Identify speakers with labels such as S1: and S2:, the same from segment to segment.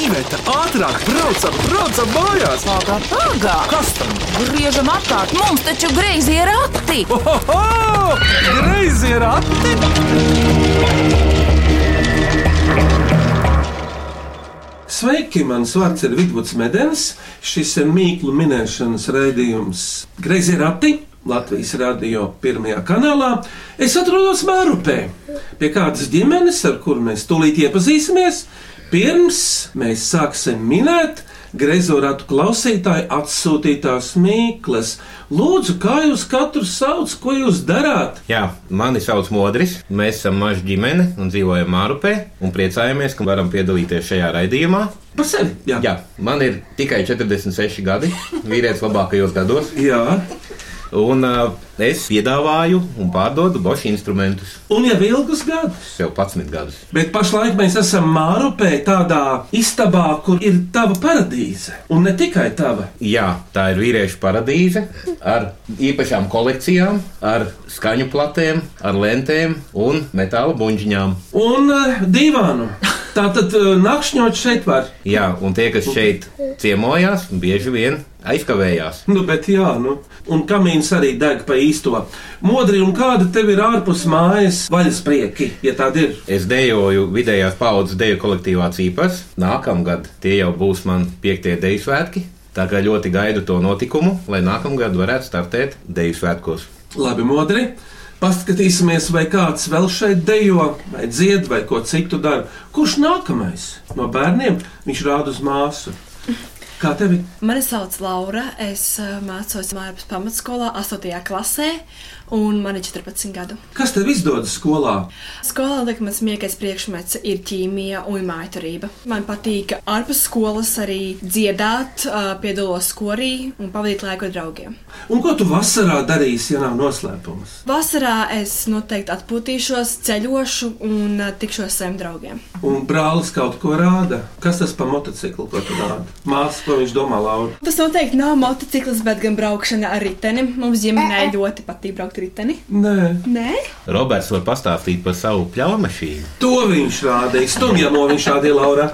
S1: Iveta, ātrāk, braucam, braucam mājās!
S2: Pagā, pagā!
S1: Kas tam?
S2: Griežam apkārt, mums taču greizi ir rati!
S1: Ohoho! Greizi ir atti!
S3: Sveiki, mans vārds ir Vidvuds Medens. Šis ir mīklu minēšanas raidījums Greizi Rati. Latvijas radio pirmajā kanālā. Es atrodos Mārupē, pie kādas ģimenes, ar kuru mēs tūlīt iepazīsimies. Pirms mēs sāksim minēt grezorātu klausītāju atsūtītās mīklas. Lūdzu, kā jūs katrs sauc, ko jūs darāt?
S4: Jā, mani sauc Modris. Mēs esam maza ģimene un dzīvojam Mārupē. Un priecājamies, ka varam piedalīties šajā raidījumā.
S3: Par sevi? Jā,
S4: Jā, man ir tikai 46 gadi, vīrietis labākajos gados.
S3: Jā.
S4: Un uh, es piedāvāju un pārdodu bošu instrumentus
S3: un jau ilgus gadus.
S4: sev 11 gadus.
S3: Bet pašlaik mēs esam Mārupē, tādā istabā, kur ir tava paradīze. Un ne tikai tava.
S4: Jā, tā ir vīriešu paradīze ar īpašām kolekcijām, ar skaņu platēm, ar lentēm un metāla buļģiņām.
S3: Un uh, divānu. Tātad uh, nakšņot šeit var.
S4: Jā, un tie, kas šeit ciemojās, bieži vien aizkavējās.
S3: Nu, bet jā, nu. Un kamīns arī deg pa īsto. Modri, un kāda tev ir ārpus mājas vaļas prieki, ja tāda ir?
S4: Es dejoju vidējās paudzes deju kolektīvā Cīpas. Nākamgad tie jau būs man piektie deju svētki. Tā kā ļoti gaidu to notikumu, lai nākamgad varētu startēt deju svētkos.
S3: Labi, modri. Paskatīsimies, vai kāds vēl šeit dejo, vai dzied, vai ko citu dara. Kurš nākamais no bērniem? Viņš rāda uz māsu. Kā tev ir?
S5: Mani sauc Laura. Es eh, mācos Mārpas pamatskolā, 8. klasē, un man ir 14 gadu.
S3: Kas tev izdodas skolā?
S5: Skolā liekas, mans mīļākais priekšmets ir ķīmija un mājturība. Man patīk ārpus skolas arī dziedāt, eh, piedalos korī un pavadīt laiku ar draugiem.
S3: Un ko tu vasarā darīsi, ja nav noslēpums?
S5: Vasarā es noteikti atpūtīšos, ceļošu un eh, tikšos ar saviem draugiem.
S3: Un brālis kaut ko rāda. Kas tas par motociklu, ko tu rādi? Māsa, ko viņš domā, Laura?
S5: Tas noteikti nav motociklis, bet gan braukšana ar riteni. Mums ģimenē ļoti patīk braukt ar riteni.
S3: Nē,
S5: Nē?
S4: Roberts var pastāstīt par savu pļaumašīnu.
S3: to viņš rādīja. Stumjamo viņš rādīja, Laura.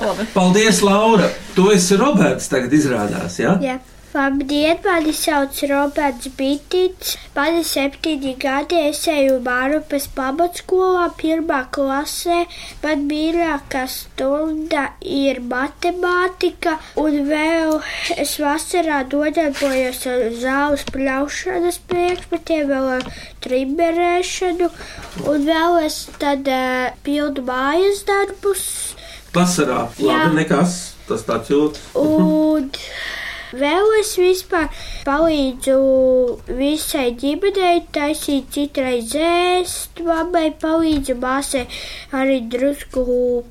S5: Labi.
S3: Paldies, Laura! Tu esi Roberts, tagad izrādās, jā? Ja?
S6: Jā. Labdien, mani sauc Roberts Bitits. Man ir septiņi gadi, es eju Mārupas pamatskolā, pirmā klasē. Man mīļākā stunda ir matemātika, un vēl es vasarā nodarbojos ar zāles pļaušanas priekšmetiem, vēl ar trimerēšanu, un vēl es tad uh, pildu mājas darbus.
S3: Vasarā,
S6: Jā.
S3: labi, nekas. Tas tāds jūtas.
S6: Un vēl es vispār palīdzu visai ģimenei taisīt citreiz ēst, mammai palīdzu, māsai arī drusku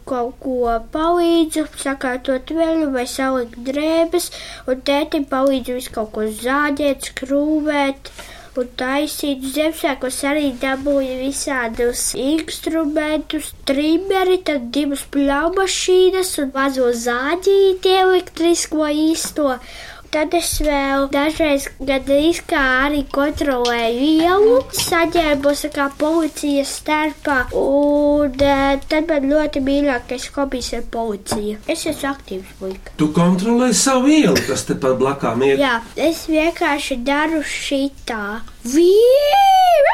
S6: kaut ko palīdzu, sakārtot vēlu vai salikt drēbes, un tētim palīdzu visu kaut ko zāģēt, skrūvēt. Un taisīt zemsēkos arī dabūja visādus instrumentus, trimeri, tad divas pļaumašīnas un mazo zāģīti elektrisko īsto. Tad es vēl dažreiz gandrīz kā arī kontrolēju ielu, saģērbos kā policijas starpā, un eh, tad man ļoti mīļākais hobijs ir policija. Es esmu aktīvs puika.
S3: Tu kontrolē savu ielu, kas te pat blakām ir.
S6: Jā, es vienkārši daru šitā. Vīri!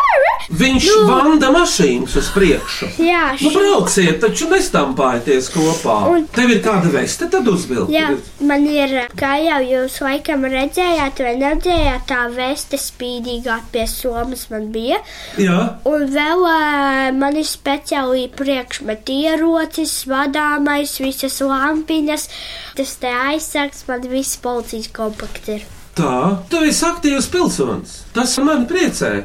S3: Viņš vanda mašīnas uz priekšu.
S6: Jā,
S3: Nu,
S6: šī.
S3: brauciet, taču nestampājieties kopā.
S6: Un-
S3: Tev ir kāda veste, tad uzvilkt.
S6: Jā, man ir, kā jau jūs laikam redzējāt, vai neredzējāt, tā veste spīdīgā pie somas man bija.
S3: Jā.
S6: Un vēl ē, man ir speciāli priekšmeti ierocis, vadāmais, visas lampiņas. Tas te aizsargs man viss policijas kompakts ir.
S3: Tā, tu esi aktīvs pilsonis. Tas man priecē.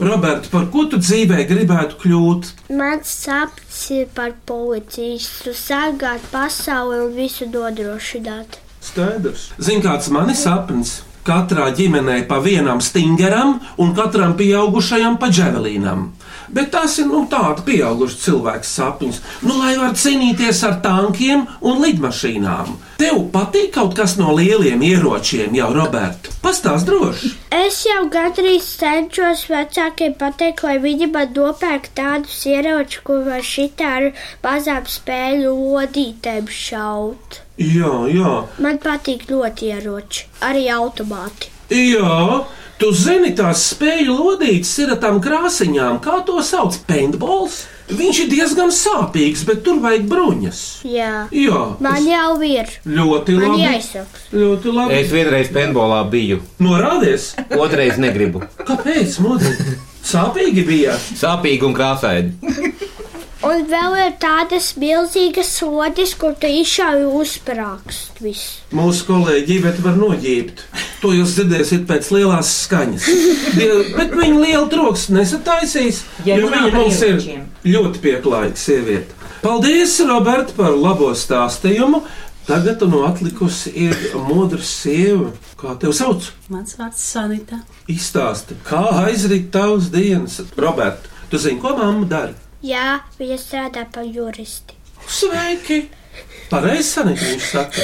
S3: Roberts, par ko tu dzīvē gribētu kļūt?
S6: Mans sapnis ir par policistu, sargāt pasauli un visu nodrošināt.
S3: Skaidrs. Zini, kāds man ir sapnis? Katrā ģimenē pa vienam stingeram un katram pieaugušajam pa dževelīnam. Bet tās ir nu, tādas pieaugušas cilvēku sapņas. Nu, lai var cīnīties ar tankiem un lidmašīnām. Tev patīk kaut kas no lieliem ieročiem, jau Roberta. Pastāst droši!
S6: Es jau gandrīz cenšos vecākiem pateikt, lai viņi man nopērk tādus ieročus, ko var šitā ar mazām spēļu lodītēm šaut.
S3: Jā, jā,
S6: Man patīk ļoti ieroči, arī automāti.
S3: jā. Tu zini, tās spēļu lodītes ir ar tām krāsiņām, kā to sauc, paintballs. Viņš ir diezgan sāpīgs, bet tur vajag bruņas.
S6: Jā,
S3: Jā,
S6: man jau ir.
S3: es- ļoti
S6: Man
S3: labi.
S6: jāizsaka.
S3: Ļoti labi.
S4: Es vienreiz penbolā biju,
S3: Norādies,
S4: otrreiz negribu.
S3: kāpēc modeli sāpīgi bija?
S4: Sāpīgi un krāsaini.
S6: Un vēl ir tādas milzīgas sodas, kur tu izšauj uzsprāgst visu.
S3: Mūsu kolēģi Iveta var noģībt. To jūs dzirdēsiet pēc lielās skaņas. Die- Bet viņa liela troksni nesataisīs,
S7: Ja
S3: jo
S7: runā
S3: viņa
S7: par
S3: mums ir
S7: ieročiem.
S3: ļoti pieklājīga sieviete. Paldies, Roberta, par labo stāstījumu. Tagad tu no atlikusi ir modra sieva. Kā tev sauc?
S7: Mans vārds Sanita.
S3: Izstāsti, kā aizrit tavas dienas. Roberta, tu zini, ko mamma dara?
S6: Jā, viņa strādā par juristi.
S3: Sveiki! Pareizi, Sanita, viņš saka.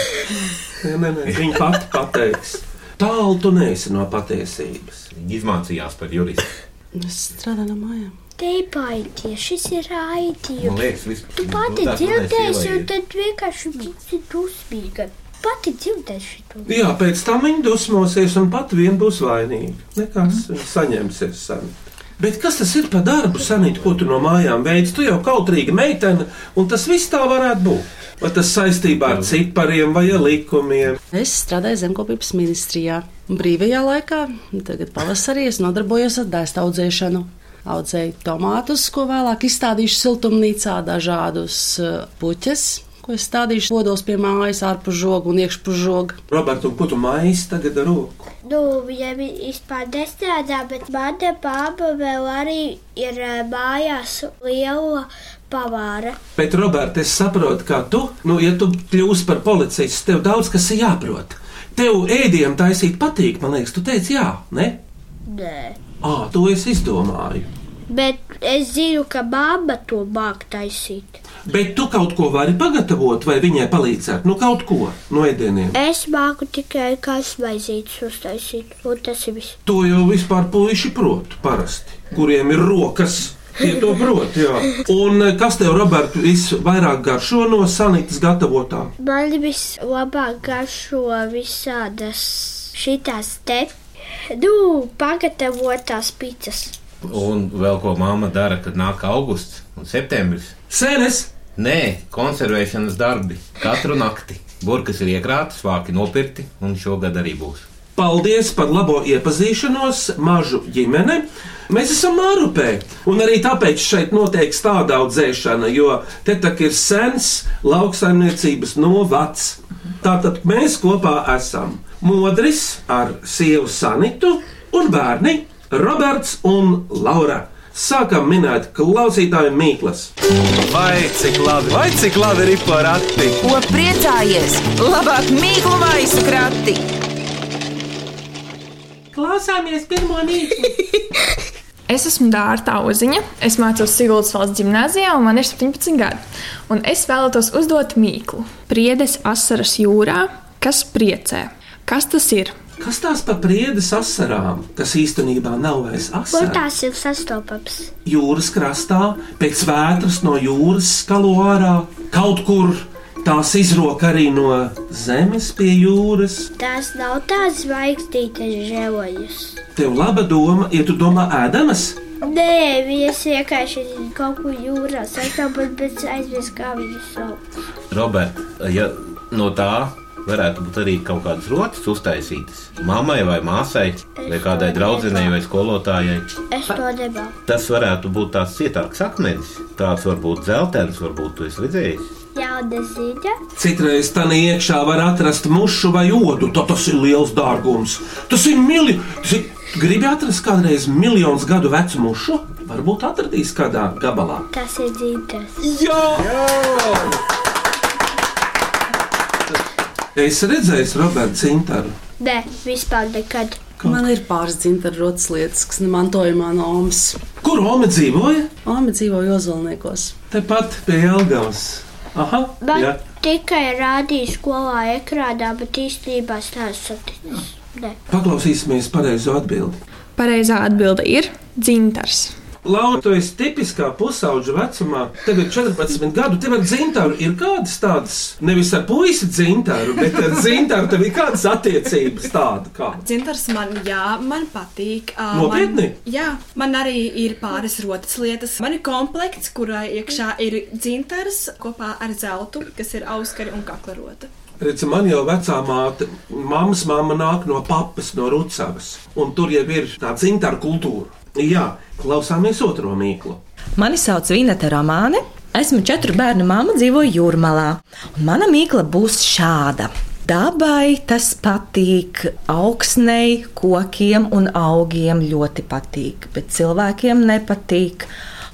S3: Nē, nē, nē. Viņa pati pateiks. Tālu tu neesi no patiesības.
S4: Izmācījās par juristu.
S7: Es strādāju no mājām.
S6: Teipaiti, šis ir
S4: Man
S6: raidījums.
S4: liekas, viss
S6: Tu pati dzirdēsi, un tad vienkārši būsi dusmīga. Pati dzirdēsi to.
S3: Jā, pēc tam viņa dusmosies un pat vien būs vainīga. Nekas viņa saņemsies. Sanita. Bet kas tas ir par darbu, Sanīt, ko tu no mājām veids? Tu jau kautrīga meitene, un tas viss tā varētu būt. Vai tas saistībā ar cipariem vai ar likumiem?
S7: Es strādāju zemkopības ministrijā. Brīvajā laikā, tagad pavasarī, es nodarbojos ar dēstu audzēšanu. Audzēju tomātus, ko vēlāk izstādīšu siltumnīcā, dažādus eh, puķes, ko es stādīšu lodos pie mājas, ārpus žoga un iekšpus žoga.
S3: Roberts, ko tu maisi tagad ar roku?
S6: Nu, viņa vispār nestrādā, bet mana pāpa vēl arī ir eh, mājās liela pavāra.
S3: Bet, Roberts, es saprotu, ka tu, nu, ja tu kļūsi par policistu, tev daudz kas ir jāprot. Tev ēdienu taisīt patīk, man liekas, tu teici jā, ne?
S6: Nē.
S3: Ā, to es izdomāju.
S6: Bet es zinu, ka baba to māk taisīt.
S3: Bet tu kaut ko vari pagatavot, vai viņai palīdzēt? Nu, kaut ko no ēdieniem.
S6: Es māku tikai kāds maizītes uztaisīt, un tas ir viss.
S3: To jau vispār puiši prot, parasti, kuriem ir rokas. Tie to prot, jā. Un eh, kas tev, Roberts, visvairāk garšo no sanītas gatavotā?
S6: Man vislabāk garšo visādas šīs te nu, pagatavotās pitas.
S4: Un vēl ko mamma dara, kad nāk augusts un septembris.
S3: Sēnes!
S4: Nē, konservēšanas darbi katru nakti. Burkas ir iekrātas, vāki nopirkti, un šogad arī būs.
S3: Paldies par labo iepazīšanos, mažu ģimene. Mēs esam mārupē, un arī tāpēc šeit notiek tāda audzēšana, jo te tā kā ir sens lauksaimniecības novacs. Tātad mēs kopā esam Modris ar sievu Sanitu un bērni Roberts un Laura. Sākam minēt klausītāju mīklas.
S1: Vai cik labi, vai cik labi ir pa rati?
S2: Ko priecājies? Labāk mīklu maisu krati.
S3: Klausāmies pirmo mīklu.
S8: Es esmu Dārta Uziņa, es mācos Siguldas valsts gimnājā, un man ir 17 gadi. Un es vēlētos uzdot mīklu. Priedes asaras jūrā, kas priecē? Kas tas ir?
S3: Kas tās par priedes asarām, kas īstenībā nav vairs
S6: Kur
S3: asaras?
S6: tās ir sastopamas?
S3: jūras krastā, pēc vētras no jūras skalo ārā. Kaut kur tās izrok arī no zemes pie jūras.
S6: Tās nav tās zvaigznītes žēlojas.
S3: Tev laba doma, ja tu domā ēdamas.
S6: Nē, viņas vienkārši ir kaut kur jūrā sastopamas, bet es aizmirsu, kā viņas sauc.
S4: Robert, ja no tā varētu būt arī kaut kādas rotas uztaisītas mammai vai māsai, vai kādai draudzenei vai skolotājai.
S6: Es to nebaudu.
S4: Tas varētu būt tāds cietāks akmenis, tāds varbūt dzeltens, varbūt tu esi redzējis.
S6: Jauda ziņa.
S3: Citreiz tam iekšā var atrast mušu vai odu. Tā tas ir liels dārgums. Tas ir milzīgs. Gribi atrast kādreiz miljonus gadu vecu mušu? Varbūt atradīs kādā gabalā.
S6: Tas ir dzīves.
S3: Es redzēju, Roberts, Intaru.
S6: Nē, vispār nekad.
S3: Kaut-
S7: Man ir pāris dzimtajrotas lietas, kas nemantojumā no Omas.
S3: Kur Oma dzīvoja?
S7: Oma dzīvo Jozolniekos.
S3: Tepat pie Elgavas. Aha,
S6: Bet
S3: jā.
S6: tikai rādīja skolā ekrānā, bet īstenībā tās saticis. Nē.
S3: Paklausīsimies pareizo atbildi.
S8: Pareizā atbilde ir dzintars.
S3: Laura, tu esi tipiskā pusaudža vecumā, tagad 14 gadu. Tev ar dzintāru ir kādas tādas, nevis ar puisi dzintāru, bet ar dzintāru tev ir kādas attiecības tāda kā.
S5: Dzintars man, jā, man patīk. Ā,
S3: Nopietni?
S5: Man, jā, man arī ir pāris rotas lietas. Man ir komplekts, kurā iekšā ir dzintars kopā ar zeltu, kas ir auskari un kakla rota.
S3: Redzi, man jau vecā māte, mammas māma nāk no papas, no rucavas, un tur jau ir tā dzintāra kultūra. Jā, klausāmies otro mīklu.
S9: Mani sauc Vineta Romāne. Esmu četru bērnu māma, dzīvoju jūrmalā. Un mana mīkla būs šāda. Dabai tas patīk, augsnei, kokiem un augiem ļoti patīk, bet cilvēkiem nepatīk.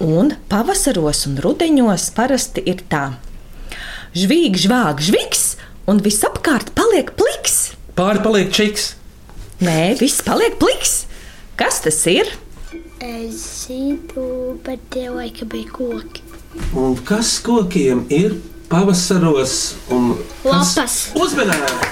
S9: Un pavasaros un rudenos parasti ir tā: žvīg, žvāg, žvigs, un visapkārt paliek pliks.
S3: Pārpaliek čiks.
S9: Nē, viss paliek pliks. Kas tas ir?
S6: Es zinu, bet tie laika bija koki.
S3: Un kas kokiem ir pavasaros un kas-
S6: Lapas.
S3: Uzmanīgi!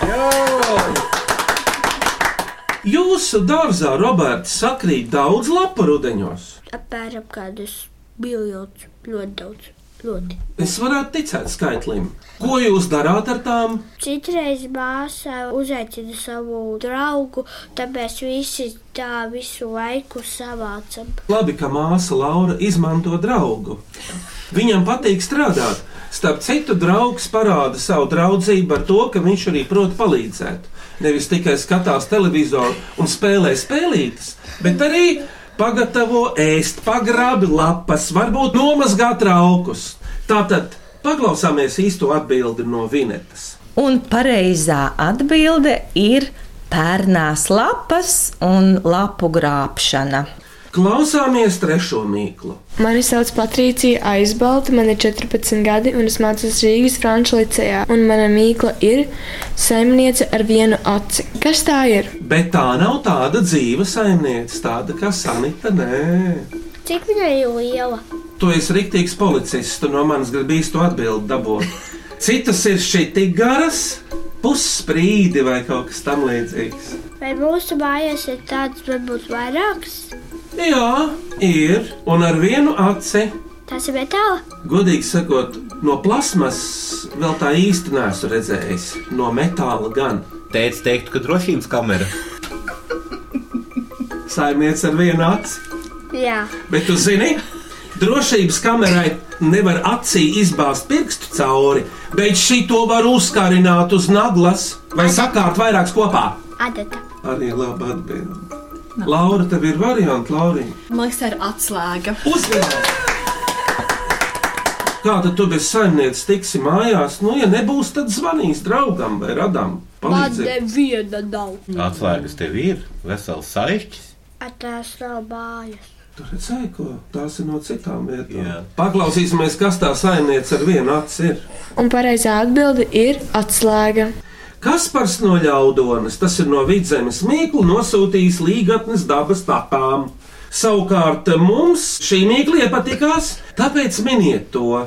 S3: Jūsu dārzā, Roberts, sakrīt daudz lapu rudeņos.
S6: Apmēram kādus miljonus. Ļoti daudz. Ļoti.
S3: Es varētu ticēt skaitlim. Ko jūs darāt ar tām?
S6: Citreiz māsa uzaicina savu draugu, tāpēc visi tā visu laiku savācam.
S3: Labi, ka māsa Laura izmanto draugu. Viņam patīk strādāt. Starp citu, draugs parāda savu draudzību ar to, ka viņš arī prot palīdzēt. Nevis tikai skatās televizoru un spēlē spēlītas, bet arī pagatavo ēst, pagrabi lapas, varbūt nomazgā traukus. Tātad paklausāmies īsto atbildi no Vinetas.
S9: Un pareizā atbilde ir pērnās lapas un lapu grābšana.
S3: Klausāmies trešo mīklu.
S10: Mani sauc Patricija Aizbalta, man ir 14 gadi un es mācos Rīgas Franču licejā. Un mana mīkla ir saimniece ar vienu aci. Kas tā ir?
S3: Bet tā nav tāda dzīva saimniece, tāda kā Sanita. Nē.
S6: Cik viņa ir liela?
S3: Tu esi rīktīgs policists, tu no manis gribi īstu atbildi dabūt. Citas ir šī tik garas, pussprīdi vai kaut kas tamlīdzīgs.
S6: Vai mūsu mājās ir tāds, varbūt vairāks?
S3: Jā, ir, un ar vienu aci,
S6: Tas ir metāla.
S3: godīgi sakot, no plasmas vēl tā īsti nesu redzējis, no metāla gan.
S4: Teicu, teiktu, ka drošības kamera.
S3: Saimniece ar vienu aci,
S6: Jā,
S3: bet tu zini, drošības kamerai nevar acī izbāzt pirkstu cauri, bet šī to var uzkarināt uz naglas vai sakārt vairākas kopā.
S6: adata.
S3: Arī labi atbildēt. Laura, tev ir variants, Laura.
S5: Man liekas, tā ir atslēga.
S3: Uzmanīgi! Kā tad tu bez saimnieces tiksi mājās? Nu, ja nebūs, tad zvanīs draugam vai radam. Palīdzēt.
S6: neviena nav.
S4: Atslēgas tev ir, vesels saišķis.
S6: Atās nav mājas.
S3: Tur redzēji, ko tās ir no citām vietām.
S4: Jā.
S3: Paklausīsimies, kas tā saimniece ar vienu aci ir.
S10: Un pareizā atbilde ir atslēga.
S3: Kaspars no ļaudonas, tas ir no vidzemes mīklu, nosūtījis līgatnes dabas tapām. Savukārt mums šī mīkla iepatikās, tāpēc miniet to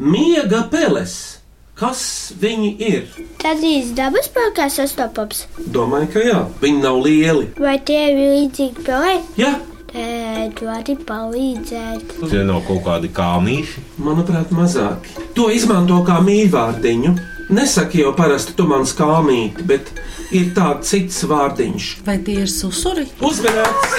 S3: miega peles. Kas viņi ir?
S6: Tad īstenībā dabas spēkā sastopams.
S3: Domāju, ka jā, viņi nav lieli.
S6: Vai tie ir līdzīgi pelei?
S3: Jā,
S6: Tad vari palīdzēt.
S4: Tie nav kaut kādi kāmīši.
S3: manuprāt, mazāki. To izmanto kā mīlvārdiņu. Nesaki jau parasti, tu mans kāmīti, bet ir tāds cits vārdiņš.
S7: Vai tie ir susuri?
S3: Uzmanīgs!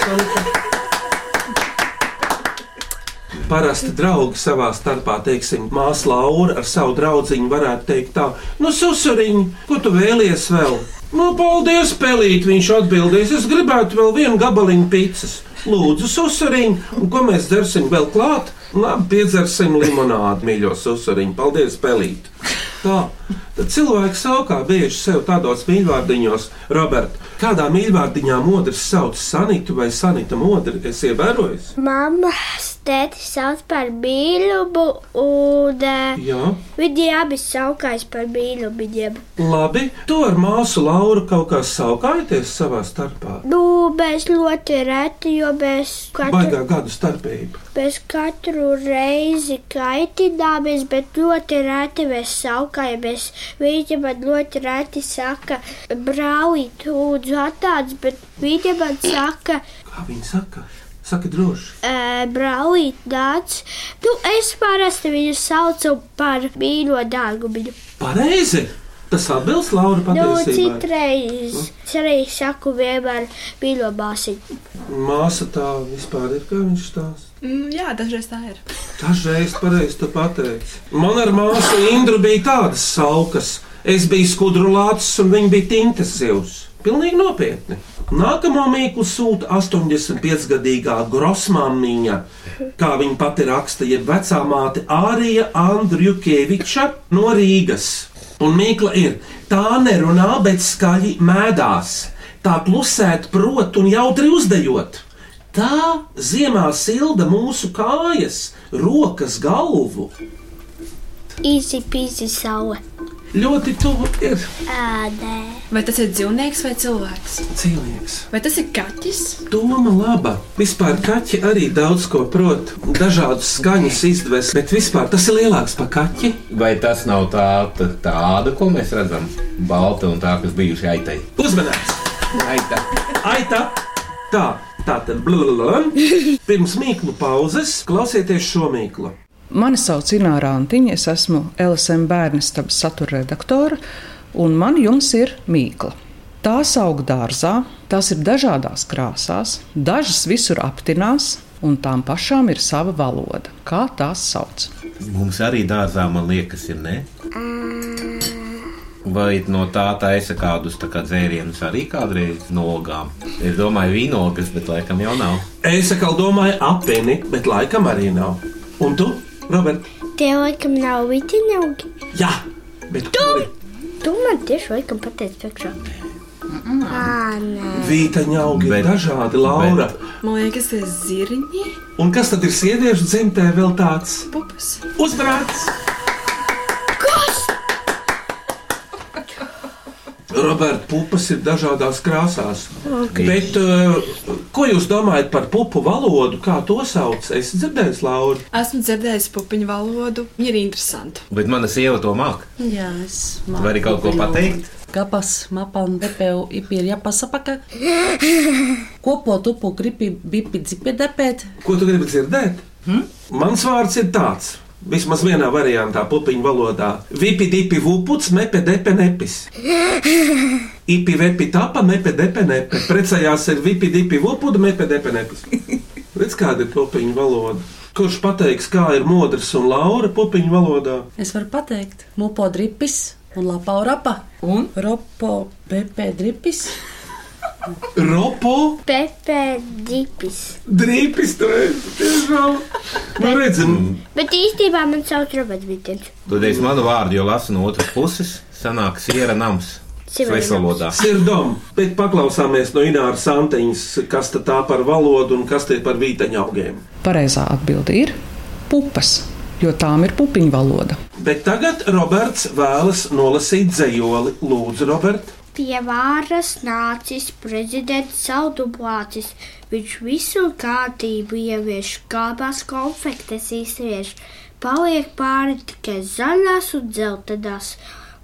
S3: Parasti draugi savā starpā, teiksim, māsa Laura ar savu draugu varētu teikt, tā, nu, susuriņ, ko tu vēlies vēl? Nu, paldies, pelīt, viņš atbildēs. Es gribētu vēl vienu gabaliņu pīcis. Lūdzu, susuriņ, un ko mēs dzersim vēl klāt? Labi, piedzersim limonādi, mīļo susuriņ, paldies, pelīt. Tā. Tad cilvēks savukārt bieži sev tādos mīļvārdiņos, Roberta, kādā mīļvārdiņā modrs sauc Sanitu vai Sanita modri, es ievēroju.
S6: Mamma tēti sauc par bīlubu, un uh,
S3: Jā.
S6: viņi abi saukais par bīlubiem.
S3: Labi, tu ar māsu Lauru kaut kā saukāties savā starpā.
S6: Nu, mēs ļoti reti, jo mēs katru,
S3: Baigā gadu starpība.
S6: mēs katru reizi kaitināmies, bet ļoti reti mēs saukājamies. Viņa man ļoti reti saka, brāli, tu lūdzu atnāc, bet viņa man saka,
S3: Kā viņi saka? Saka droši.
S6: Ē, brālīt, dārts. Nu, es parasti viņu saucu par mīļo dārgumu.
S3: Pareizi! Tas atbilst Laura
S6: Nu,
S3: patiesībā.
S6: citreiz es arī saku vienmēr mīļo bāziņu.
S3: Māsa tā vispār ir, kā viņš stāsta.
S5: Mm, jā, dažreiz tā ir.
S3: Dažreiz pareizi tu pateici. Man ar māsu Indru bija tādas saukas. Es biju skudru lācis un viņa bija tintes zivs. Pilnīgi nopietni. Nākamo mīklu sūta 85-gadīgā grosmāmiņa, kā viņa pati raksta, jeb vecā māte Ārija Andriukeviča no Rīgas. Un mīkla ir tā nerunā, bet skaļi mēdās. Tā klusēt prot un jautri uzdejot. Tā ziemā silda mūsu kājas, rokas galvu.
S6: Īsi pīsi saule.
S3: Ļoti tuvu ir
S6: Ā, nē.
S5: Vai tas ir dzīvnieks vai cilvēks?
S3: cilvēks.
S5: Vai tas ir kaķis?
S3: Doma laba. Vispār kaķi arī daudz ko prot, dažādas skaņas izdevs, bet vispār tas ir lielāks par kaķi.
S4: Vai tas nav tā, tā, tāda, ko mēs redzam? Balta un tā, kas bijusi aitai.
S3: Uzmanīgs! Aita! Aita! Tā, tā tad blablabla. Pirms mīklu pauzes klausieties šo mīklu.
S11: Mani sauc Ināra Antiņa, es esmu LSM bērnistaba satura redaktore, un man jums ir mīkla. Tās aug dārzā, tās ir dažādās krāsās, dažas visur aptinās, un tām pašām ir sava valoda. Kā tās sauc?
S4: Mums arī dārzā, man liekas, ir ne. Vai no tā taisa kādus tā kā dzērienus arī kādreiz no ogām? Es domāju, vīnogas, bet laikam jau nav.
S3: Es atkal domāju, apvieni, bet laikam arī nav. Un tu, Robert?
S6: Tie laikam nav vitiņa augi.
S3: Jā, bet tu!
S6: Tu man tieši laikam pateici priekšā. Ā, nē.
S3: Vītaņa augi ir
S4: Bet-
S3: dažādi, Laura.
S5: Man liekas, tie ir zirņi,
S3: Un kas tad ir sieviešu dzimtē vēl tāds
S5: pupas.
S3: uzbrāts? Roberta pupas ir dažādās krāsās. Okay. Bet, uh, ko jūs domājat par pupu valodu? Kā to sauc? Es dzirdēju, Laura.
S5: Esmu dzirdējis pupiņu valodu. Viņa ir interesanta.
S4: Bet mana sieva to māca.
S7: Jā, es māku
S4: Vari kaut ko
S7: papildu.
S4: pateikt?
S7: Kapas, mapan, depeu, ipir, jāpasapaka. Kopo, tupu, gripi, bipi, dzipi, depēt.
S3: Ko tu gribi dzirdēt? Hmm? Mans vārds ir tāds. Vismaz vienā variantā, pupiņu valodā. Vipi, dipi, vuputs, mepe, depe, nepis. Ipi, vepi, tapa, mepe, depe, nepe. Precējās ar vipi, dipi, vupudu, mepe, depe, nepis. Redz, kāda ir pupiņu valoda. Kurš pateiks, kā ir modrs un laura pupiņu valodā?
S7: Es varu pateikt, mupo, dripis un lapau, rapa. Un? Ropo, pepe, dripis.
S3: Ropo,
S6: Pepe dipis.
S3: drīpis, tu esi tiešām. Nu, redzam,
S6: Bet īstenībā man sauc Roberts Vitens.
S4: Tu dēļ manu vārdu, jo lasu no otras puses, sanāk siera nams.
S6: Siera
S4: Sveika valodā.
S3: sirdom. Bet paklausāmies no Ināras Santeņas, kas tad tā par valodu un kas tie par vītaņu augiem.
S11: Pareizā atbilde ir pupas, jo tām ir pupiņu valoda.
S3: Bet tagad Roberts vēlas nolasīt dzējoli. Lūdzu, Robert,
S6: Pie vāras nācis prezidents Saudublācis. Viņš visu kārtību ievieš, kāpās konfektes izvieš. Paliek pāri tikai zaļās un dzeltenās,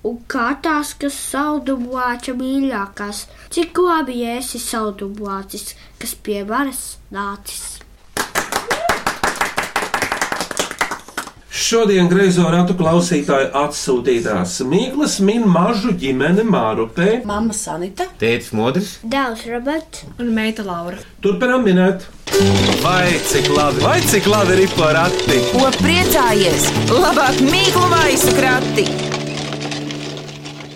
S6: un kā tās, kas saudublāča mīļākās. Cik labi ja esi saudublācis, kas pie varas nācis.
S3: šodien greizo ratu klausītāju atsūtītās Mīklas min mažu ģimene Mārupē.
S7: Mama Sanita.
S4: Tēvs modrs,
S6: Dēls Roberts,
S5: Un meita Laura.
S3: Turpinām minēt.
S1: Vai cik labi, vai cik labi ir porakti?
S2: Ko priecājies? Labāk mīklu maisu krati!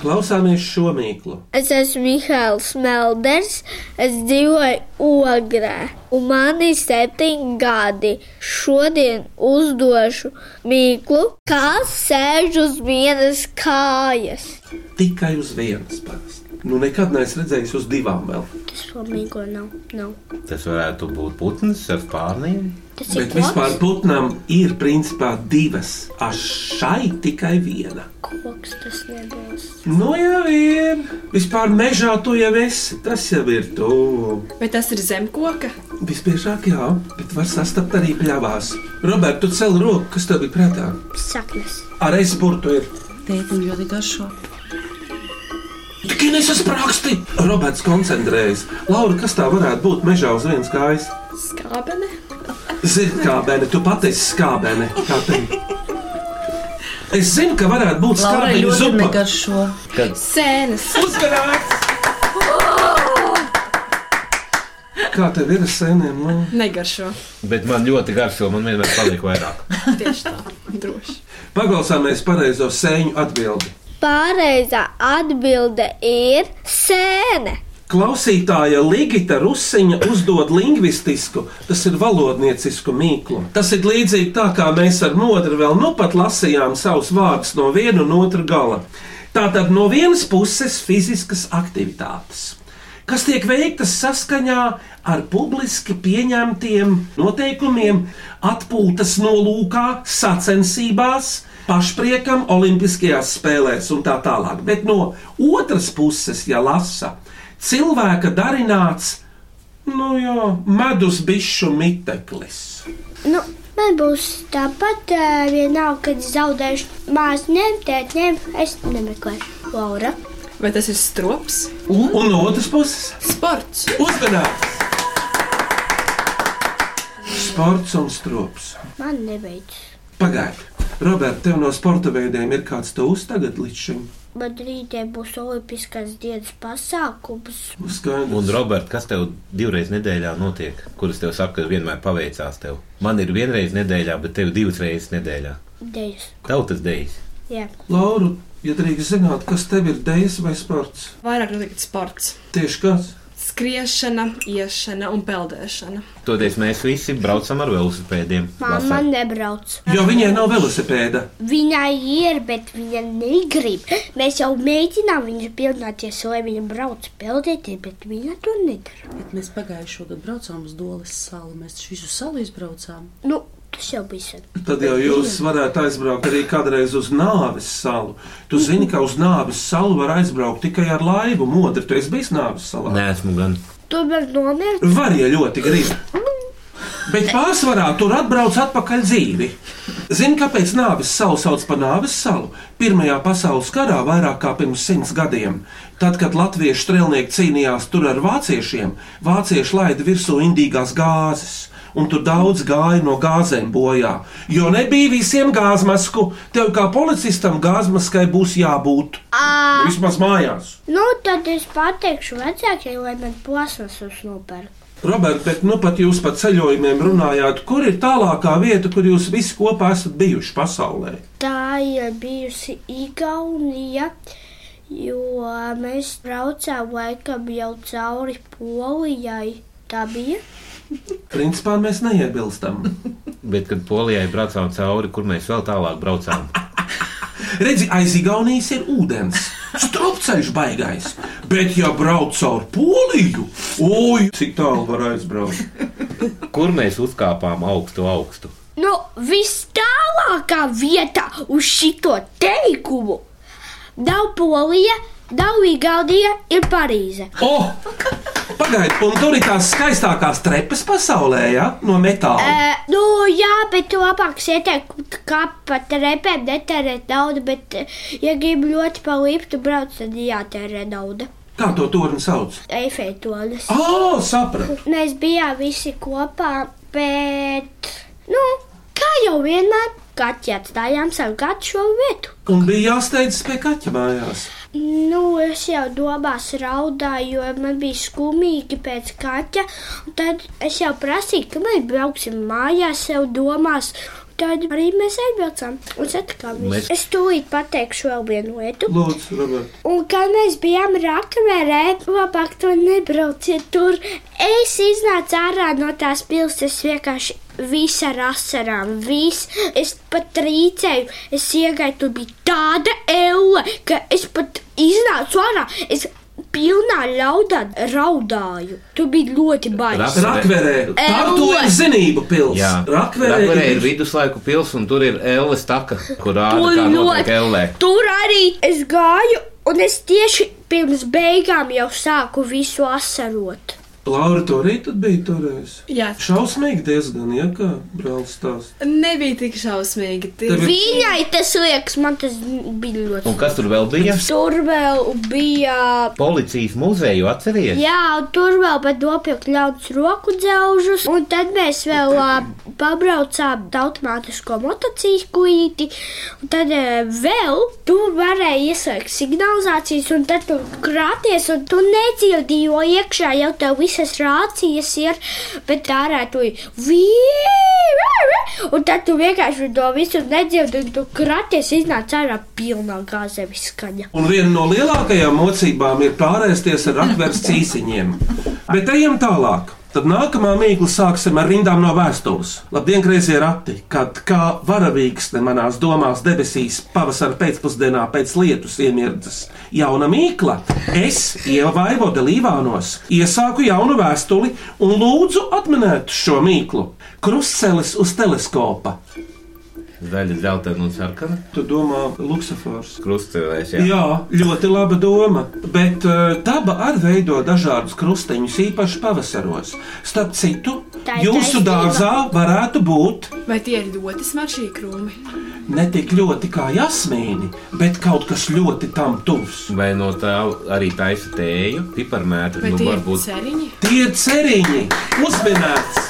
S3: Klausāmies šo mīklu.
S6: Es esmu Mihāls Melders, es dzīvoju Ogrē, un man ir septiņi gadi. Šodien uzdošu mīklu, kā sēž uz vienas kājas.
S3: Tikai uz vienas parasti. Nu, nekad neesmu redzējis uz divām vēl.
S6: Tas flamingo nav. nav.
S4: Tas varētu būt putns ar pārniem.
S6: Tas ir
S3: Bet vispār
S6: koks.
S3: putnam ir principā divas, a šai tikai viena.
S6: Koks tas nebūs.
S3: Nu, jā, ir. Vispār mežā to jau esi. Tas jau ir tu.
S5: Vai tas ir zemkoka?
S3: Visbiežāk, jā, bet var sastapt arī pļāvās. Roberts, tu cel roku, kas tev bija prātā?
S6: Saknes.
S3: Ar aizpurtu ir.
S7: Tētim ļoti garšo.
S3: Tikai nesasprāgsti! Roberts koncentrējas. Laura, kas tā varētu būt mežā uz vienas kājas?
S5: Skābene.
S3: Zini, kā bērni, tu pati esi skābēne. Kā tev? Es zinu, ka varētu būt
S7: Laura
S3: skābēņu
S7: ļoti
S3: zupa.
S7: negaršo.
S4: Kad
S5: Sēnes.
S3: Uzmanīgs! Kā tev ir ar sēnēm? Nu?
S5: Negaršo.
S4: Bet man ļoti garšo, man vienmēr paliek vairāk.
S5: Tieši tā. Droši.
S3: Paklausāmies pareizo sēņu atbildi.
S6: Pareizā atbilde ir sēne.
S3: Klausītāja Ligita Rusiņa uzdod lingvistisku, tas ir valodniecisku mīklu. Tas ir līdzīgi tā, kā mēs ar modru vēl nu pat lasījām savus vārdus no viena un otra gala. Tātad no vienas puses fiziskas aktivitātes, kas tiek veiktas saskaņā ar publiski pieņemtiem noteikumiem, atpūtas nolūkā, sacensībās, pašpriekam, olimpiskajās spēlēs un tā tālāk. Bet no otras puses, ja lasa, cilvēka darināts nu, jā, medus bišu miteklis.
S6: Nu, man būs tāpat eh, vienalga, kad es zaudēšu māsu, ņem, tēt, ņem. Es nemeklēšu Laura.
S5: Vai tas ir strops?
S3: Un, un no otras puses,
S5: Sports.
S3: uzmanības! Sports un strops.
S6: Man nebeidz.
S3: Pagaidiet, Roberts, tev no sporta veidiem ir kāds tūs tagad līdz šim?
S6: Bet rītdien būs olimpiskās dienas pasākums.
S3: Nu, Skaidrs.
S4: Un, Roberts, kas tev divreiz nedēļā notiek? Kuras tev saka, ka vienmēr paveicās tev? Man ir vienreiz nedēļā, bet tev divas reizes nedēļā.
S6: Dēļas.
S4: Tautas dejas.
S6: Jā.
S3: Laura, ja drīkst zināt, kas tev ir dēļas vai sports?
S5: Vairāk likte sports.
S3: Tieši kas?
S5: Skriešana, iešana un peldēšana.
S4: Toties mēs visi braucam ar velosipēdiem.
S6: Māma
S4: vasarā.
S6: nebrauc.
S3: Jo viņai nav velosipēda.
S6: Viņai ir, bet viņa negrib. Mēs jau mēģinām viņu pilnāties, lai viņa brauc peldēties, bet viņa to nedara.
S7: Bet mēs pagājušā gada braucām uz Dolas salu. Mēs taču visu salu izbraucām.
S6: Nu, tas jau bija sen.
S3: Tad jau jūs varētu aizbraukt arī kādreiz uz nāves salu. Tu zini, ka uz nāves salu var aizbraukt tikai ar laivu. Modri, tu esi bijis nāves salā.
S4: Nē, esmu gan.
S6: Tomēr nomirt.
S3: Var, ja ļoti grib. Bet pārsvarā tur atbrauc atpakaļ dzīvi. Zini, kāpēc nāves salu sauc par nāves salu? Pirmajā pasaules karā, vairāk kā pirms simts gadiem, tad, kad latviešu strēlnieki cīnījās tur ar vāciešiem, vācieši laida virsū indīgās gāzes. Un tur daudz gāja no gāzēm bojā. Jo nebija visiem gāzmasku. Tev kā policistam gāzmaskai būs jābūt.
S6: Ā.
S3: Vismaz mājās.
S6: Nu, tad es pateikšu vecākiem, lai man plasmasas nopērk.
S3: Roberts, bet nu pat jūs par ceļojumiem runājāt, kur ir tālākā vieta, kur jūs visi kopā esat bijuši pasaulē?
S6: Tā ir bijusi Igaunija, jo mēs braucām laikam jau cauri Polijai. Tā bija.
S3: Principā mēs neiebilstam.
S4: Bet, kad polijai braucām cauri, kur mēs vēl tālāk braucām,
S3: Redzi, aiz Igaunijas ir ūdens, stropceļš baigais. Bet, ja brauc caur Poliju, oi, cik tālu var aizbraukt?
S4: kur mēs uzkāpām augstu, augstu.
S6: Nu, viss tālākā vieta uz šito teikumu nav Polija, nav Igaunija, ir Parīze.
S3: Oh! Pagaidiet, un tur ir tās skaistākās trepas pasaulē, ja? no metāla.
S6: E, nu, jā, bet labāk ieteikt, kā pat repēm netērēt naudu, bet, e, ja gribi ļoti palīptu braukt, tad jātērē nauda.
S3: Kā to torni sauc?
S6: Eifētonis.
S3: Ah, sapratu!
S6: Mēs bijām visi kopā, bet, nu, kā jau vienmēr, kaķi atstājām savu gadu šo vietu.
S3: Un bija jāsteidzas pie kaķa mājās.
S6: Nu, es jau domās raudāju, jo man bija skumīgi pēc kaķa. un Tad es jau prasīju, ka mēs brauksim mājās, jau domās. un Tad arī mēs aizbraucām un satikāmies.
S4: Mēs-
S6: Es tūlīt pateikšu vēl vienu lietu.
S3: Lūdzu, Roberts!
S6: Un kad mēs bijām Rakverē, labāk to nebrauciet tur. Es iznācu ārā no tās pilsētas vienkārši visā ar asarām. Vis. Es pat rīcēju, es iegāju, tur bija tāda eule, ka es pat iznācu ārā. Es pilnā ļaudā raudāju. Tu biji ļoti baisa.
S3: Rakverē. Tartu ir zinību pils.
S4: Jā,
S3: Rakverē
S4: Rakverē
S3: ir-
S4: ir viduslaiku pils, un tur ir Elles taka, kur rāda,
S6: Tu
S4: kā notiek
S6: ļoti-
S4: Ellē.
S6: Tur arī es gāju, un es tieši pirms beigām jau sāku visu asarot.
S3: Laura, to arī tad bija toreiz.
S5: Jā.
S3: Šausmīgi diezgan, ja kā brālis tās.
S5: Nebija tik šausmīgi.
S3: Tev ir-
S6: Viņai tas liekas, man tas bija ļoti.
S4: Un kas tur vēl bija?
S6: Tur vēl bija.
S4: Policijas muzeju atceries?
S6: Jā, un tur vēl bija nopirkt ļaunus roku dzelžus, un tad mēs vēl ā, pabraucām automātisko motociklu. Tad ā, vēl tu varēji ieslēgt signalizācijas, un tad tu krāties, un tu nedzirdi, jo iekšā jau tev visas rācijas ir, bet ārā tu ir vīri, un tad tu vienkārši to visu nedzirdi, un tu krāties, iznāca ārā pilnā gāzevis skaņa.
S3: Un viena no lielākajām mocībām ir pārēsties ar akvers cīsiņiem. Bet ejam tālāk. Tad nākamā mīkla sāksim ar rindām no vēstures. Labdien, grazījā rati, kad kā varavīksne manās domās debesīs pavasara pēcpusdienā pēc lietus iemirdzas jauna mīkla. Es ievaivo delīvānos, iesāku jaunu vēstuli un lūdzu atminēt šo mīklu. Krustcelis uz teleskopa.
S4: Zaļa, zeltaina un sarkana.
S3: Tu domā, Luksafors?
S4: Krustcelēs, jā.
S3: Jā. jā, ļoti laba doma. Bet uh, daba arī veido dažādus krusteņus, īpaši pavasaros. Starp citu,
S5: Tā ir
S3: jūsu
S5: taisnība.
S3: dārzā varētu būt
S5: Vai tie ir ļoti smaržīgi krūmi?
S3: ne tik ļoti kā jasmīni, bet kaut kas ļoti tam tuvs.
S4: Vai no tā arī taisa tēju, piparmētu,
S5: Vai
S4: nu
S5: tie ir
S4: varbūt.
S5: ceriņi?
S3: Tie ir ceriņi, uzminēts.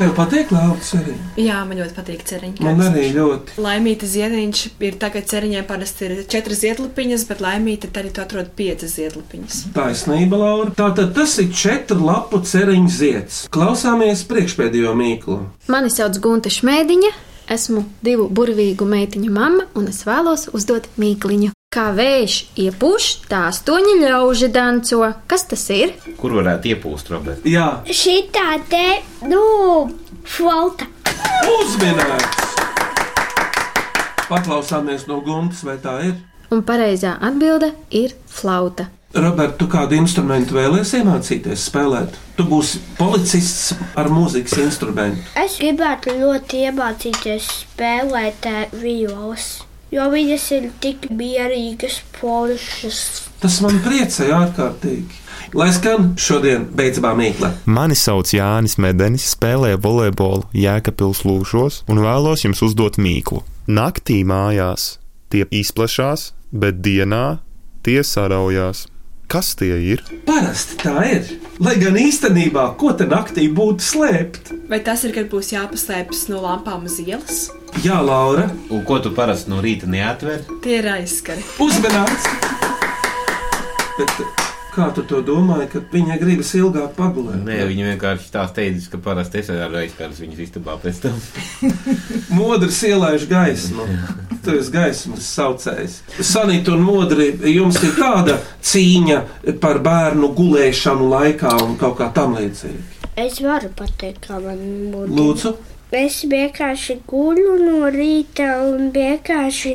S3: Tev patīk lauks ceriņi?
S5: Jā, man ļoti patīk ceriņi.
S3: Man arī ļoti.
S5: Laimīta ziediņš ir tagad ceriņai parasti ir četras ziedlapiņas, bet laimīta tad arī tu atrod piecas ziedlapiņas.
S3: Taisnība, Laura. Tātad tas ir četru lapu ceriņu zieds. Klausāmies priekšpēdējo mīklu.
S12: Mani sauc Gunte Šmētiņa, esmu divu burvīgu meitiņu mamma un es vēlos uzdot mīkliņu. Kā vējš iepūš, tā astoņi ļauži danco. Kas tas ir?
S4: Kur varētu iepūst, Robert?
S3: Jā,
S6: Šī tā te, nu, flauta.
S3: Uzminēts! Paklausāmies no gumtas, vai tā ir?
S12: Un pareizā atbilde ir flauta.
S3: Roberts, tu kādu instrumentu vēlēsies iemācīties spēlēt? Tu būsi policists ar mūzikas instrumentu.
S6: Es gribētu ļoti iemācīties spēlēt eh, violas, jo viņas ir tik mierīgas, pošas.
S3: Tas man priecē ārkārtīgi. Lai skan šodien beidzamā mīkla.
S13: Mani sauc Jānis Medenis, spēlēju volejbolu Jēkabils Lūšos un vēlos jums uzdot mīklu. Naktī mājās tie izplešās, bet dienā tie saraujās. Kas tie ir?
S3: Parasti tā ir. Lai gan īstenībā, ko te naktī būtu slēpt?
S5: Vai tas ir, kad būs jāpaslēpjas no lampām uz ielas?
S3: Jā, Laura.
S4: Un ko tu parasti no rīta neatver?
S5: Tie ir aizskari.
S3: Uzmanīgs! Bet kā tu to domāji, kad viņa gribas ilgāk pagulēt?
S4: Nē, viņi vienkārši tā teica, ka parasti es ar aizskārus viņas istabā pēc tam.
S3: Modrs ielaiž gaismu. Tu esi gaismas saucējs. Sanita un modri, jums ir tāda cīņa par bērnu gulēšanu laikā un kaut kā tam līdzīga.
S6: Es varu pateikt, kā man būtu.
S3: Lūdzu,
S6: Es vienkārši guļu no rīta un vienkārši.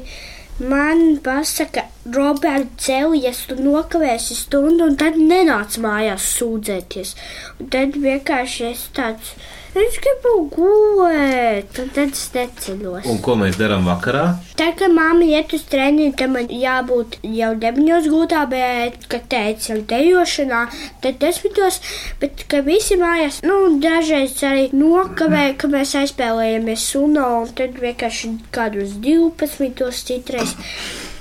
S6: Man pasaka, Roberts, celies, tu nokavēsi stundu, un tad nenāc mājās sūdzēties. Un tad vienkārši es tāds, es gribu gulēt, un tad es neceļos.
S4: Un ko mēs darām vakarā?
S6: Tā kā mamma iet uz treniņu, tad man jābūt jau deviņos gūtā, bet, kad teicām, dejošanā, tad desmitos, bet, ka visi mājās, nu, un dažreiz arī nokavēja, ka mēs aizspēlējamies suno, un tad vienkārši kādus 12 citreiz.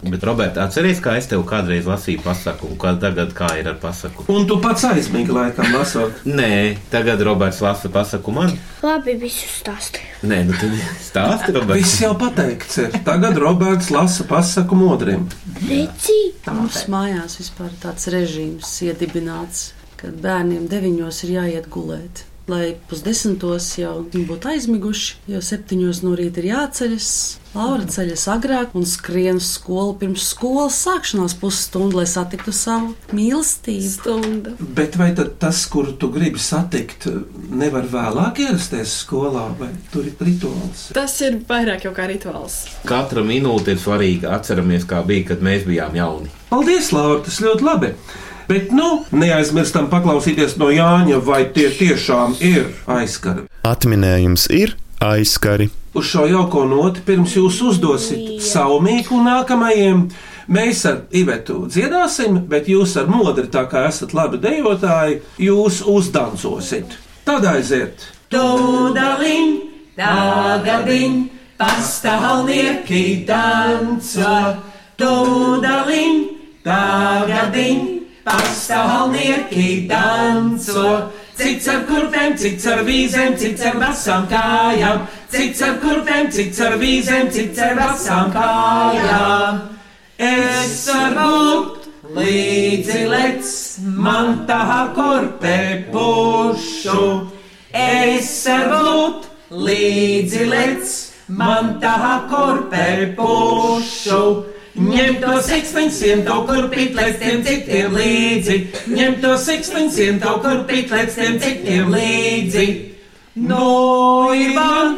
S4: Bet, Robert, atceries, kā es tev kādreiz lasīju pasaku, un kā tagad kā ir ar pasaku?
S3: un tu pats aizmīgi laikam lasot.
S4: Nē, tagad Roberts lasa pasaku man.
S6: Labi, visu stāstu.
S4: Nē, nu tad stāsti, Roberts.
S3: Viss jau pateikts. Ir. Tagad Roberts lasa pasaku modrim.
S6: Reci!
S7: Mums mājās vispār tāds režīms iedibināts, kad bērniem deviņos ir jāiet gulēt. lai pusdesmitos jau būtu aizmiguši, jo septiņos no rīta ir jāceļas. Laura ceļas agrāk un skrien uz skolu pirms skolas sākšanās pusstundu, lai satiktu savu mīlestību. Stunda.
S3: Bet vai tad tas, kur tu gribi satikt, nevar vēlāk ierasties skolā, vai tur ir rituāls?
S5: Tas ir vairāk jau kā rituāls.
S4: Katra minūte ir svarīga. Atceramies, kā bija, kad mēs bijām jauni.
S3: Paldies, Laura, tas ļoti labi. Bet, nu, neaizmirstam paklausīties no Jāņa, vai tie tiešām ir aizskari.
S13: Atminējums ir aizskari.
S3: Uz šo jauko noti pirms jūs uzdosit savu mīklu nākamajiem. Mēs ar Ivetu dziedāsim, bet jūs ar modri, tā kā esat labi dejotāji, jūs uzdancosiet. Tad aiziet!
S14: Tūdalim, tagadim, pastāvnieki danco. Tūdalim, tagadim, pastāvnieki danco. Cits ar kurpēm, cits ar vīzēm, cits ar basām kājām. Cits ar kurpēm, cits ar vīzēm, cits ar basām kājām. Es varbūt līdzi lec, man tā korpē pušu. Es varbūt līdzi lec, man tā korpē pušu. Ņem to seksteņiem, to kurpīt, lec tiem citiem līdzi. Ņem to seksteņiem, to kurpīt, lec tiem citiem līdzi. No ir man,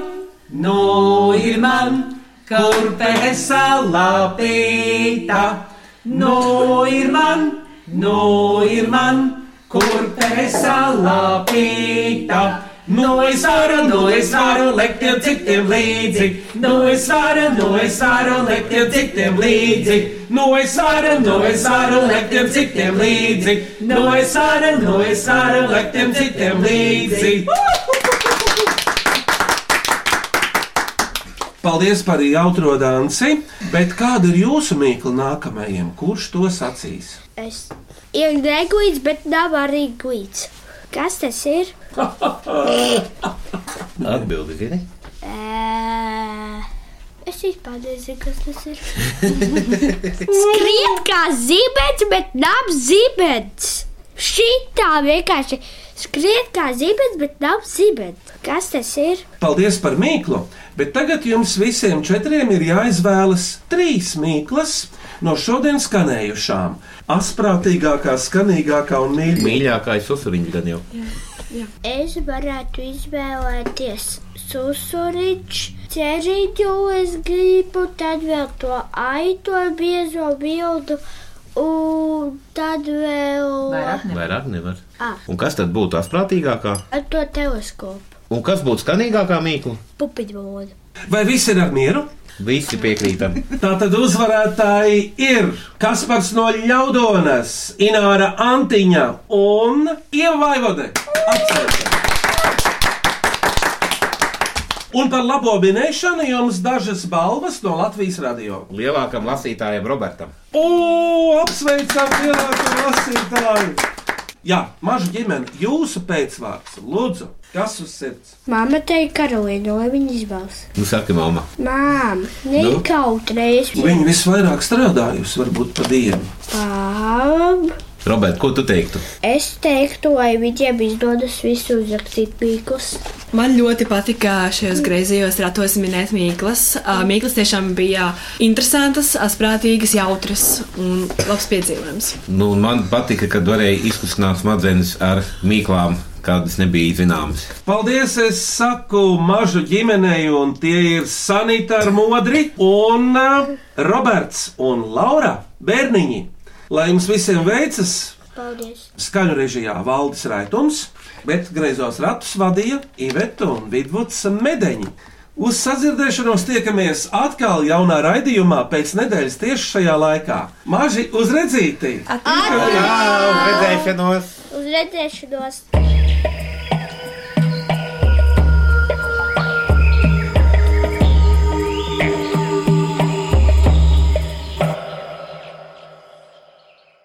S14: no ir man kurpē salāpīta. No ir man, no ir man, kurpē salāpīta. No es varu, no es varu likt jau citiem līdzi. No es varu, no es varu likt jau citiem līdzi. No es varu, no es varu likt jau citiem līdzi. No es varu, no es varu likt jau citiem līdzi.
S3: Paldies par jautro dansi, bet kāda ir jūsu mīkla nākamajam? Kurš to sacīs?
S6: Es ir neglīts, bet nav arī glīts. Kas tas ir?
S4: Atbildi zini.
S6: Ē, Es vispār nezinu, kas tas ir. Skrien kā zibens, bet nav zibens. Šī tā vienkārši skrien kā zibens, bet nav zibens. Kas tas ir?
S3: Paldies par mīklu, bet tagad jums visiem četriem ir jāizvēlas trīs mīklas no šodienas skanējušām. Asprātīgākā, skanīgākā un mīļākā.
S4: Mīļākais uzsveriņš gan jau.
S6: Es varētu izvēlēties susuriņu, ķēriņu, es gribu, tad vēl to aitu ar biezo bildu, un tad vēl
S4: Vairāk nevar.
S6: Ah,
S4: Un kas tad būtu asprātīgākā?
S6: ar to teleskopu,
S4: Un kas būtu skanīgākā mīkla?
S6: pupiņu.
S3: Vai visi ir ar mieru?
S4: Visi piekrītam.
S3: Tātad uzvarētāji ir Kaspars no Ļaudonas, Ināra Antiņa un Ievaivode. Un par labo minēšanu jums dažas balvas no Latvijas radio.
S4: Lielākam lasītājam Robertam.
S3: O, apsveicam, lielāko lasītāju! Jā, maza ģimene, jūsu pēcvārds, lūdzu, kas uz sirds?
S6: Māma teica, Karolīna, lai viņa izbalsta.
S4: Nu, saka, mamma.
S6: Māma,
S3: Nu?
S6: nekaut reizes.
S3: Viņa visvairāk strādājusi, varbūt pa dienu.
S6: Pām.
S4: Robert, ko tu teiktu?
S6: Es teiktu, lai viņiem izdodas visu uzrakstīt mīklus.
S5: Man ļoti patika šajos greizījos ratos minēt mīklas. Ā, Mīklas tiešām bija interesantas, asprātīgas, jautras un labs piedzīvojums.
S4: Nu, man patika, ka varēja izkustināt smadzenes ar mīklām, kādas nebija zināmas.
S3: Paldies, es saku mažu ģimenei, un tie ir Sanita ar modri, un uh, Roberts un Laura bērniņi. Lai jums visiem veicas,
S6: Paldies!
S3: skaņu režijā valdes raitums, bet greizos ratus vadīja Iveta un Vidvuds Medeņi. Uz sadzirdēšanos tiekamies atkal jaunā raidījumā pēc nedēļas tieši šajā laikā. Maži uzredzīti!
S6: Atkal!
S4: redzēšanos!
S6: Uz redzēšanos!